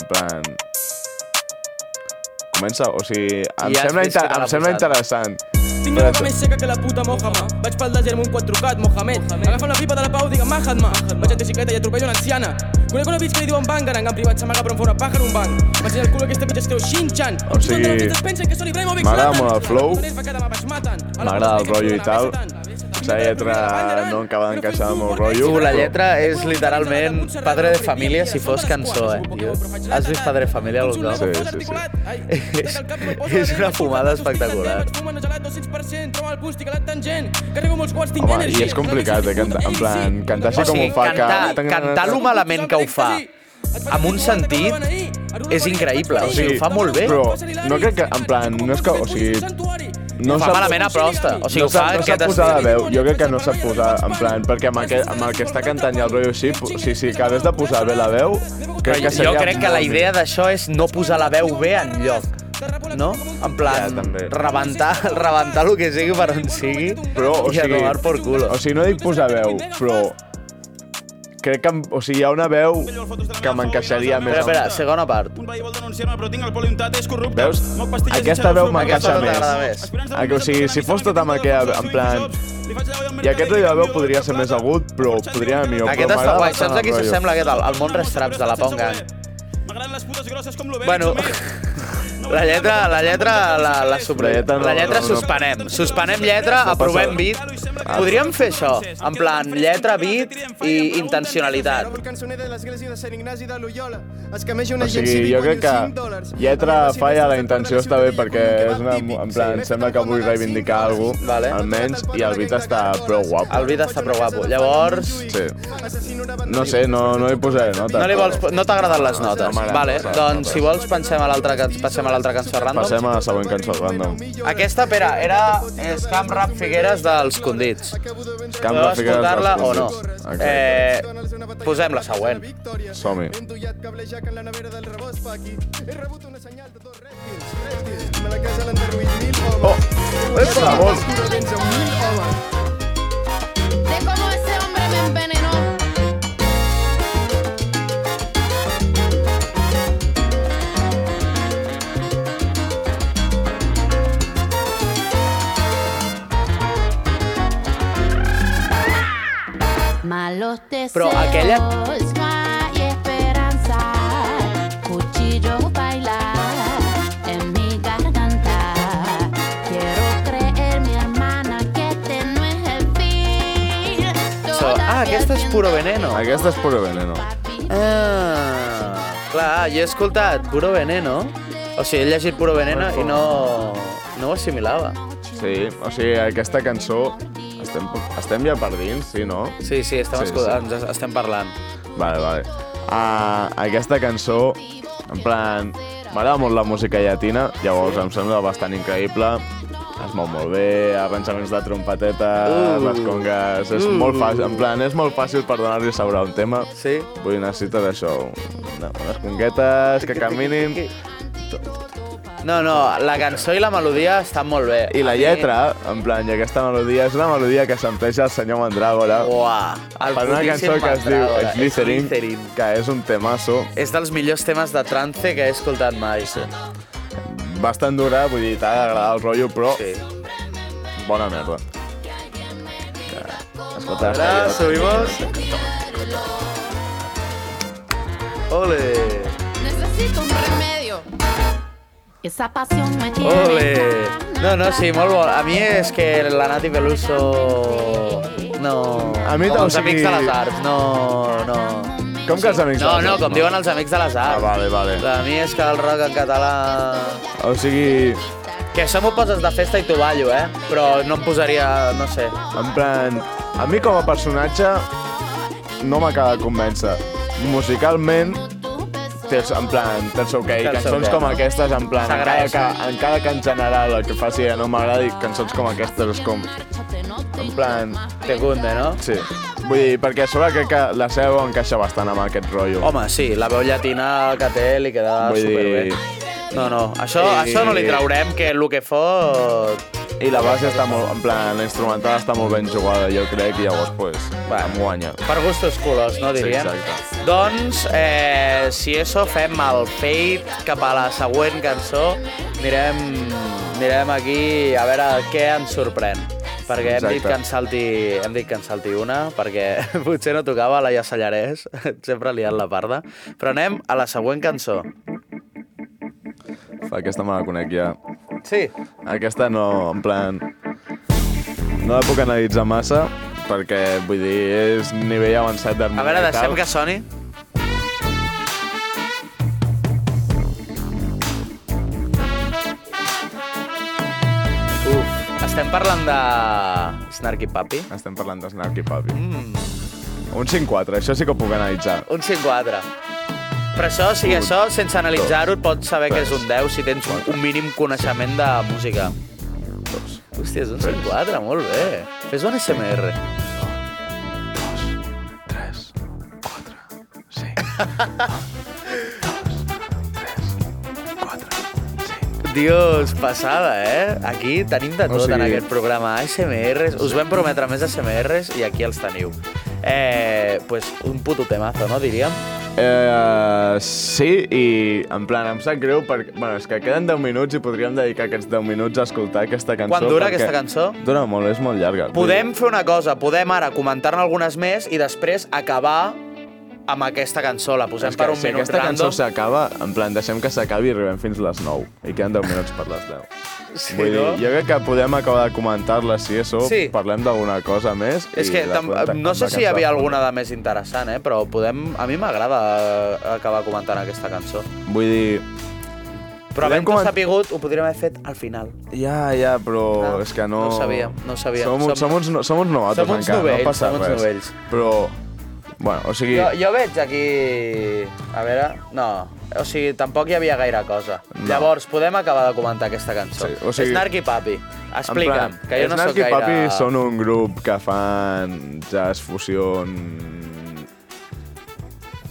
En plan... Comença, o sigui, em
Ja has
sembla,
vist
inter
que te l'ha
em sembla
posat.
interessant.
Tinc la boca més seca que la puta Mohammed. Vaig pel desert amb un quad trucat, Mohamed. Agafa la pipa de la pau, digue Mahatma. Vaig en bicicleta i atropello una anciana. Conec una bitch que li diuen Bangarang, en privat s'amaga però em fa una pàjara un banc. M'ensenya el cul que aquesta bitch es creu Shin-chan.
O sigui, m'agrada molt el flow, m'agrada el rotllo i tal. La lletra no acaba d'encaixar amb el rotllo.
Tu, la lletra és literalment Padre de Família si fos cançó, eh? Jo- Has vist Padre de Família algun cop?
Sí, sí, sí.
És- és una fumada espectacular.
Home, i és complicat, eh, cantar- en plan, cantar així
O sigui,
com ho fa, que-
cantar, cantar lo malament que ho fa amb un sentit és increïble, o sigui, ho fa molt bé.
Però no crec que, en plan, no és que, o sigui...
no
No
Ho fa
fa
sap-
malament a prosta, o sigui,
no
ho fa
sap, no
aquest
sap
aquest
posar la
estil.
veu, jo crec que no sap posar, en plan, perquè amb, aquest, amb el que està cantant i el rotllo així, o sigui, si acabés de posar bé la veu, crec que seria
Jo crec que
molt
la idea d'això és no posar la veu bé en lloc. No? En plan,
Ja, també.
rebentar, rebentar el que sigui per on sigui
Però, o
i a
sigui,
tomar por culo.
O sigui, no dic posar veu, però crec que, em- o sigui, hi ha una veu que m'encaixaria més.
Espera, espera,
amb-
segona part.
Un veí vol denunciar-me, però tinc el poli untat, és corrupte.
Veus?
Moc pastilles i
Aquesta
xarxes
veu
no
m'encaixa
m'agrada.
m'agrada
més.
més.
Aspirants de
Ah, que, O sigui, si fos tot amb aquella, en plan... I aquest rotllo de veu podria
tota
ser més agut, però podria anar millor. però
Aquest està
m'agrada
guai.
bastant
Saps a qui
el rotllo.
s'assembla aquest? Al al món Rastraps de la Pau Gang.
M'agraden les putes grosses com l'Obel.
Bueno, la lletra, la lletra, la, la, supre...
La lletra no,
la lletra
no, no.
suspenem. Suspenem lletra, aprovem beat. Podríem fer això, en plan, lletra, beat i intencionalitat.
O sigui, jo crec que lletra falla, la intenció està bé perquè és una, en plan, sembla que vull reivindicar alguna cosa,
Vale.
almenys, i el beat està prou guapo.
El beat està prou guapo. Llavors,
Sí. No sé, no, no hi posaré nota.
no li vols... No t'ha agradat les notes.
m'agraden
Vale,
les notes.
doncs si vols pensem a l'altra can- passem a l'altra cançó
Passem
random.
a la següent cançó, random.
Aquesta, Pere, era és Camp Rap Figueres dels Condits.
Camp
Podeu escoltar-la o no.
Eh...
Eh, posem la següent.
Som-hi. Oh! És la voz!
De cómo ese hombre me envenenó. Malos deseos.
Pero aquella-
No hay esperanza. Cuchillo baila en mi garganta. Quiero creer, mi hermana, que este no es el fin.
So, ah, aquesta és Puro Veneno.
Aquesta és puro veneno.
Ah, clar, jo he escoltat Puro Veneno, o sigui, he llegit Puro Veneno i no, no ho assimilava.
Sí, o sigui, aquesta cançó... Estem, estem ja per dins, sí, no?
Sí, sí, estem sí,
Sí, sí.
ens estem parlant.
Vale, vale. Uh, aquesta cançó, en plan... M'agrada molt la música llatina, llavors em sembla bastant increïble. Es mou molt bé, arranjaments de trompetetes, uh, les congues... És molt fàcil, en plan, és molt fàcil per donar-li sabor a un tema.
Sí?
Vull dir, necessites això, una- unes conguetes que caminin...
No, no, la cançó i la melodia estan molt bé.
I la
A mi-
lletra, en plan, i aquesta melodia, és una melodia que s'empleja el senyor Mandràgora
Uah, el
per una
putíssim
cançó que es diu
Mandrágora.
Slytherin,
Slytherin.
que és un temasso
És dels millors temes de trance que he escoltat mai. Sí.
bastant dura, vull dir, t'ha d'agradar el rotllo, però
sí.
bona merda. Escolta,
Ara subimos. Ole.
Necesito un remedio. Esa pasión me tiene.
Ole.
tan
No, no, sí, molt bo. A mi és que la Nati Peluso... No...
A mi
com
o
els
sigui-
amics de les arts, no... no.
Com que els amics
No,
de les
no,
arts,
com diuen els amics de les
Ah,
arts.
vale, vale.
A mi és que el rock en català...
O sigui,
Que això m'ho poses de festa i t'ho ballo, eh? Però no em posaria... no sé.
en plan, a mi com a personatge no m'acaba de convèncer. Musicalment, tens, en plan, tens ok.
Tens
Cançons
ok.
com aquestes, en plan, encara
S'agraeixen.
que, encara que en general el que faci no m'agradi, cançons com aquestes és com... En plan,
Te cunde, no?
sí. Vull dir, perquè a sobre crec que la seva encaixa bastant amb aquest rotllo.
Home, sí, la veu llatina que té li queda
Vull dir-
superbé. No, no, això,
I-
això no li traurem, que el que fot...
I la base està molt, en plan, la instrumental està molt ben jugada, jo crec, i llavors, pues,
Va.
em guanya.
Per gustos colors, no diríem?
exacte.
doncs, eh, si això fem el fade cap a la següent cançó, mirem, mirem aquí a veure què ens sorprèn. Perquè hem dit,
Exacte.
que en salti, hem dit que en salti una, perquè potser no tocava la Llacellarès, sempre liant la parda. Però anem a la següent cançó.
Fa, aquesta me la conec ja.
Sí.
Aquesta no, en plan... No la puc analitzar massa, perquè, vull dir, és nivell avançat d'harmonia
A veure,
i tal.
deixem que soni. Uf, estem parlant de... Snarky Papi?
Estem parlant de Snarky Papi. Mm. Un 5-4, això sí que ho puc analitzar.
Un 5-4. Però això, o sigui,
Un,
això, sense analitzar-ho, et pots saber que és un
tres,
10 si tens un, un mínim coneixement de música. Hòstia, és un 5-4, molt bé. Fes un SMR.
3, 4, 5,
Dios, passada, eh? Aquí tenim de tot o sigui... en
sigui-
aquest programa. ASMRs, us vam prometre més ASMRs i aquí els teniu. Eh, pues un puto temazo, no, diríem?
Eh, sí, i en plan, em sap greu perquè... Bueno, és que queden 10 minuts i podríem dedicar aquests 10 minuts a escoltar aquesta cançó.
Quant dura
perquè
aquesta cançó?
Dura molt, és molt llarga.
Podem fer una cosa, podem ara comentar-ne algunes més i després acabar amb aquesta cançó. La
Vull dir,
posem
és que
per un
si
minut
aquesta cançó
random.
s'acaba, en plan, deixem que s'acabi i arribem fins les 9. I queden 10 minuts per les 10.
Sí,
Vull dir,
no?
jo crec que podem acabar de comentar-la, si això,
Sí.
parlem d'alguna cosa més.
És
i
que
la
tam...
podem
no sé
tancar
si hi havia
amb la
alguna de més interessant, eh? però podem... a mi m'agrada eh, acabar comentant aquesta cançó.
cançó. Vull dir,
Però
Podem
havent
comen-
sapigut, ho podríem haver fet al final.
ja, ja, però
Ah,
és que no...
no ho sabíem, no ho sabíem.
Som, som,
Som-
som, uns, no- som uns novatos
som uns
encara,
novells,
no passa
som uns
res.
novells.
Però, bueno, o sigui...
Jo, jo veig aquí... A veure... No, o sigui, tampoc hi havia gaire cosa. No.
No.
Llavors, podem acabar de comentar aquesta cançó. o
Sí, o
sigui...
sigui-
Snarky Papi, explica'm,
En plan,
que jo no sóc
Snarky
gaire...
Papi són un grup que fan jazz, fusió...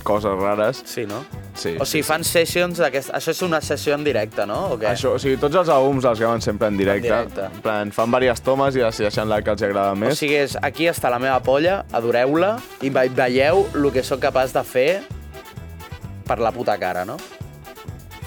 coses rares.
Sí, no?
Sí.
O sigui, fan sessions d'aquest... Això és una sessió en directe, no? O què?
Això, o sigui, tots els àlbums els graven sempre en directe.
En directe.
En plan, fan diverses tomes i decideixen la que els agrada
O
més.
sigui, és, aquí està la meva polla, adoreu-la i ve- veieu el que sóc capaç de fer per la puta cara, no?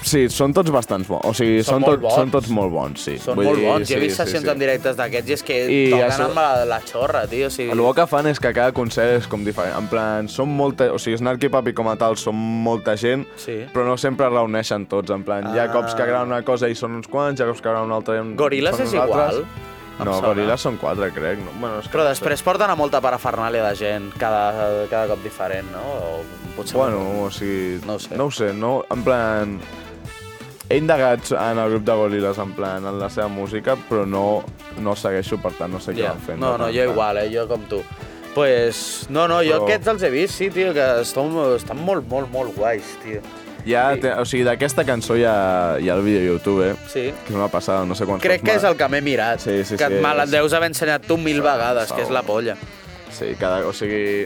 Sí, són tots bastants bons. O sigui,
Són
són,
molt
tot,
bons.
són tots molt bons, sí.
Són
Vull
molt
dir,
bons. Jo he
sí,
vist
sí,
sessions
sí.
en directe d'aquests i és que
I
toquen
això-
amb la, la xorra, tio. O sigui...
El bo que fan és que cada concert és com diferent. En plan, són molta... O sigui, Snarky Papi com a tal són molta gent,
Sí.
però no sempre es reuneixen tots. En plan, ah. hi ha cops que graven una cosa i són uns quants, hi ha cops que graven una altra i un-
Goril·les
són
és
uns
igual?
altres.
Em
No,
sona.
Goril·les són quatre, crec. No, bueno, és que
Però
no sé.
després porten a molta parafernàlia de gent, cada, cada cop diferent, no? O potser...
Bueno, o sigui...
No ho sé.
No ho sé, no, en plan... He indagat en el grup de Goril·les, en plan, en la seva música, però no, no segueixo, per tant, no sé
ja.
què van fent.
No, no, jo igual, eh? Jo com tu. Pues, no, no, jo
Però-
aquests els he vist, sí, tio, que estan, estan molt, molt, molt guais, tio.
Ja, té, o sigui, d'aquesta cançó hi ha, hi ha el vídeo a YouTube, eh?
Sí.
Que és una passada, no sé quants
Crec
cops
que
m'ha-
és el que m'he mirat,
Sí, sí,
que
sí,
me
és-
l'endeus haver ensenyat tu mil vegades,
segur.
que és la polla.
Sí, cada, o sigui...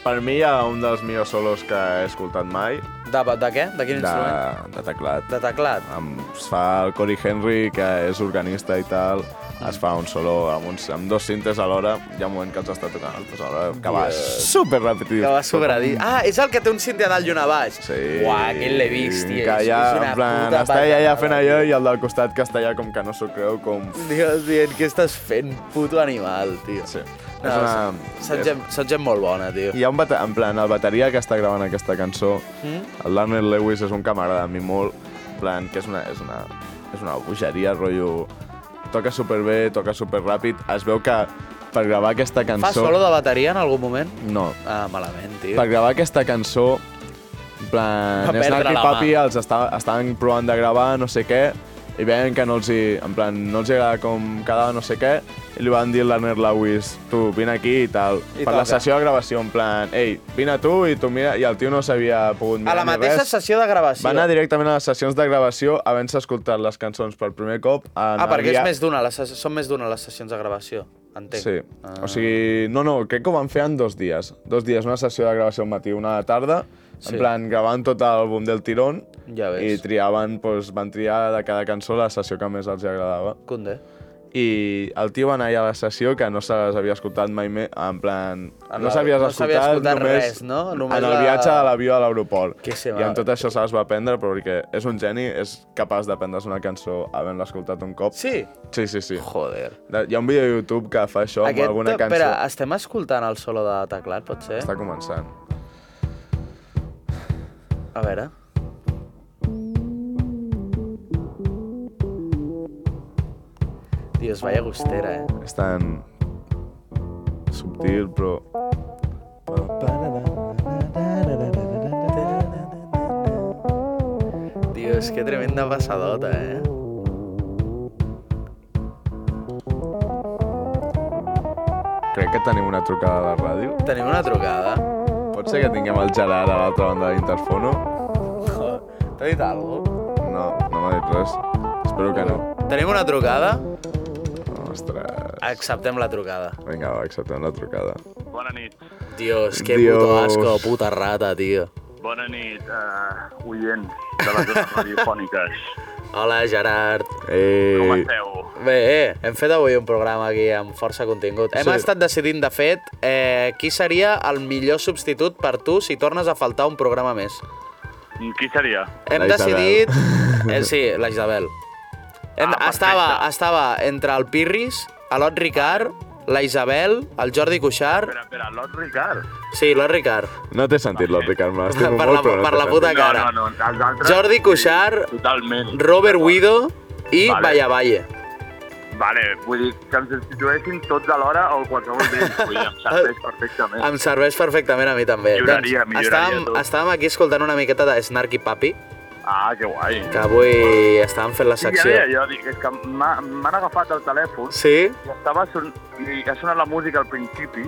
Per mi hi ha un dels millors solos que he escoltat mai.
De, de què? De quin
de, Ah,
instrument?
de teclat.
De teclat.
Em- es fa el Cory Henry, que és organista i tal, es fa un solo amb, uns, amb dos cintes alhora, hi ha un moment que els està tocant els dos alhora, que va super repetitiu.
Que va sobradit. Ah, és el que té un cinti a dalt i una baix.
Sí.
Uah, aquell l'he vist, tio.
Que
és-
allà,
és una
en plan,
puta
està ella
banda
allà fent
de-
allò i el del costat que està allà com que no s'ho creu, com...
Dios, dient, què estàs fent, puto animal, tio.
Sí.
No,
És una-
saps- saps gent, saps gent molt bona, tio.
Hi ha un bata en plan, el bateria que està gravant aquesta cançó, mm? el Larner Lewis és un que m'agrada a mi molt, en plan, que és una, és una, és una bogeria, rotllo... Toca superbé, toca superràpid, es veu que per gravar aquesta cançó...
Fa solo de bateria en algun moment?
No,
Ah, malament, tio.
per gravar aquesta cançó, en
Va
plan,
perdre
Snack i
la
Papi
mà.
els està, estaven provant de gravar no sé què, i veien que no els hi, en plan, no els hi agrada com quedava no sé què, i li van dir a l'Erner Lewis, tu, vine aquí i tal.
I
per la
toca.
sessió de gravació, en plan, ei, vine tu i tu mira, i el tio no s'havia pogut mirar
A la
ni
mateixa
res.
sessió de gravació.
Va anar directament a les sessions de gravació havent-se escoltat les cançons per primer cop.
Ah, perquè és més d'una, les ses- són més d'una les sessions de gravació, entenc.
Sí.
Ah.
O sigui, no, no, crec que ho van fer en dos dies. Dos dies, una sessió de gravació al matí, una a la tarda,
Sí.
en plan, gravant tot l'àlbum del tirón,
Ja ves.
i triaven, doncs, van triar de cada cançó la sessió que més els agradava.
Cundé.
I el tio va anar allà a la sessió que no se les havia escoltat mai més, en plan...
En
No
la-
s'havies
Ah, no s'havia
escoltat,
escoltat
només,
res, no? Només
Només en el
la-
viatge de l'avió a l'aeroport.
Que se
I
va-
amb tot això se les va aprendre perquè és un geni, és capaç d'aprendre's una cançó havent-la escoltat un cop.
Sí?
Sí, sí, sí.
Joder.
De- Hi ha un vídeo de YouTube que fa això amb alguna cançó.
eh, Espera, estem escoltant el solo de teclat, pot ser?
Està començant.
A veure. Dios, vaya gustera, eh?
És tan... subtil, però...
Dios, qué tremenda pasadota, eh?
Crec que tenim una trucada a la ràdio.
Tenim una trucada.
Pot ser que tinguem el Gerard a l'altra banda de l'interfono?
T'ha dit alguna
No, no m'ha dit res. Espero que no.
Tenim una trucada?
Ostres...
Acceptem la trucada.
Vinga, va, acceptem la trucada.
Bona nit.
Dios, qué
Dios.
puto asco, puta rata, tío.
Bona nit, uh, oients de les zones radiofòniques.
Hola, Gerard.
Com
Ei...
esteu?
Bé, eh, hem fet avui un programa aquí amb força contingut. Hem
Sí.
sí. estat decidint, de fet, eh, qui seria el millor substitut per tu si tornes a faltar un programa més.
Qui seria?
Hem
La Isabel.
decidit... Eh, sí, la Isabel. Hem,
Ah,
estava,
perfecte.
estava entre el Pirris, l'Ot Ricard, la Isabel, el Jordi Cuixart...
Espera, espera, l'Ot Ricard.
Sí, l'Ot Ricard.
No té sentit, la Ricard, me l'estimo
Per
molt,
la-
però no
per
té
la
sentit.
puta que- Cara.
No, no, no, els altres...
Jordi Cuixart,
Sí, Totalment.
Robert Guido i
Vale.
Vaya Valle.
Vale, vull dir que em substitueixin tots alhora o qualsevol d'ells. Vull dir, em serveix perfectament.
Em serveix perfectament a mi també. Doncs
Milloraria, milloraria
estàvem,
tot.
estàvem aquí escoltant una miqueta de Snarky Papi,
Ah, que guai.
que avui estàvem fent la
Sí, ja
secció.
deia jo, dic, és que m'ha- m'han agafat el telèfon
Sí?
i estava son... i ha sonat la música al principi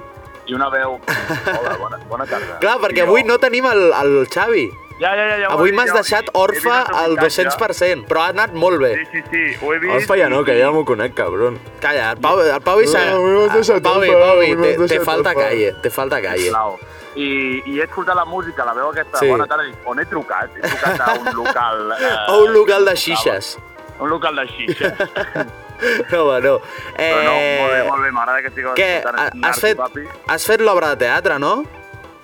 i una veu... Hola, bona, bona tarda.
Clar, perquè
I
avui
jo-
no tenim el, el Xavi.
Ja, ja, ja, ja ho
Avui
he vist,
m'has
ja ho he
deixat
vist.
orfe
He vist el
al
missatge.
200%, però ha anat molt bé.
Sí, sí, sí, ho he vist.
Orfa ja no, que ja m'ho conec, cabron.
Calla, el Pau, el Pau i s'ha...
No, m'ho has deixat
Pau, i-
orfe,
Pau, i
m'ho
te,
has
te
deixat
falta
orfe.
calle, te falta calle.
Sisplau. I, I he escoltat la música, la veu aquesta,
Sí.
sí. bona tarda, i dic, on he trucat? He trucat a un local... Eh,
A un local de xixes.
Un local de xixes.
No, va, no.
Però no, molt bé,
Eh,
molt bé, m'agrada que estigueu
què,
escoltant
ha- has
Narco
fet,
Papi.
has fet l'obra de teatre, no?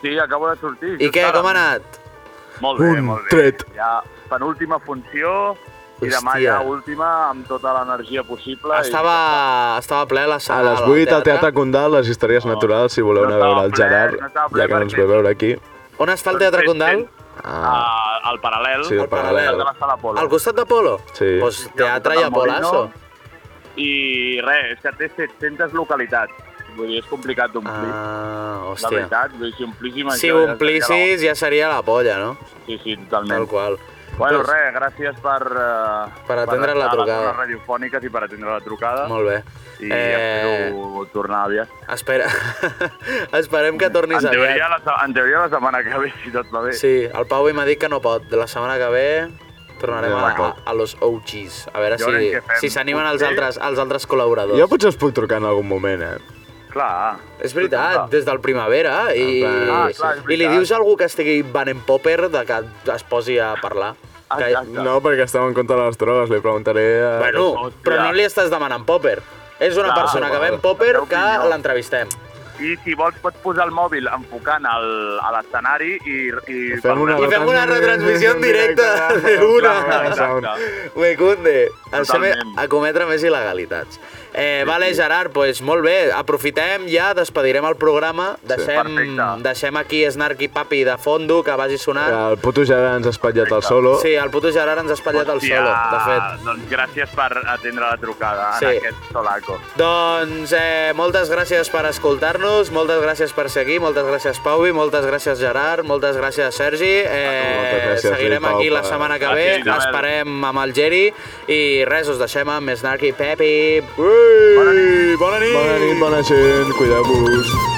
Sí, acabo de sortir.
I
just
què,
ara.
com ha anat?
Molt bé,
Un
molt bé.
tret.
Ja penúltima funció, i demà
Hòstia.
ja última, amb tota l'energia possible.
Estava, estava ple la
A
sala.
les 8 al Teatre Condal, les històries naturals, si voleu
No
anar a veure el
estava ple,
Gerard,
no estava ple
ja que no ens
perquè-
ve a veure aquí.
On està el
Doncs
Teatre Condal?
Ah,
al paral·lel,
Sí, al
al
Paral·lel.
de la sala Polo.
Al costat de Polo?
Sí.
Pues teatre i a Polazo.
I res, és que té 700 localitats. Vull dir, és complicat d'omplir.
Ah,
la
hòstia.
veritat, vull dir, si omplíssim
Si
això...
ho
ja seria
omplissis ja seria la polla, no?
la- Sí, sí,
Tal
totalment.
qual.
Bueno,
Doncs,
res, gràcies per... eh,
Per atendre la
estar a
trucada.
les zones radiofòniques i per atendre la trucada.
Molt bé.
I
eh,
espero tornar aviat.
espera. Esperem que tornis
En teoria,
aviat.
la, se- en teoria, la setmana que ve, si tot va bé.
Sí, el Pau avui m'ha dit que no pot. De la setmana que ve tornarem
Ja,
a, a,
d'acord.
a los OGs. A veure
Ja veurem
si
què fem.
si s'animen els
Potser-
altres, els altres col·laboradors.
jo potser us puc trucar en algun moment, eh?
Clar.
És veritat, des del primavera i,
Ah, clar, és
i li
veritat.
dius a algú que estigui Van Popper de que es posi a parlar. Que,
Ah, Exacte.
No, perquè estem en contra de les drogues, li preguntaré... A...
bueno,
Hòstia.
però no li estàs demanant Popper. És una
Clar,
persona que
val.
ven Popper
La teva
que
opinió.
l'entrevistem.
I si vols pots posar el mòbil enfocant al, a l'escenari i... i
Fem una
I fem una retransmissió en directe d'una. Mecunde, em sembla
Totalment.
a cometre més il·legalitats. Eh, vale, Gerard, pues, molt bé, aprofitem ja, despedirem el programa, deixem,
perfecte.
deixem aquí Snarky Papi de fondo, que vagi sonant.
El puto ja ens ha espatllat el solo.
Sí, el puto Gerard ens ha espatllat el solo, de fet.
Doncs gràcies per atendre la trucada
Sí.
en aquest solaco.
Doncs eh, moltes gràcies per escoltar-nos, moltes gràcies per ser aquí, moltes gràcies Pauvi, moltes gràcies Gerard, moltes gràcies Sergi. Eh,
Ah, Moltes gràcies,
seguirem
Pau,
aquí la
per-
setmana que ve,
Gràcies, Isabel.
esperem amb el Geri i res, us deixem amb Snarky Pepi.
Ui, bona nit. Bona nit, bona gent, cuideu-vos.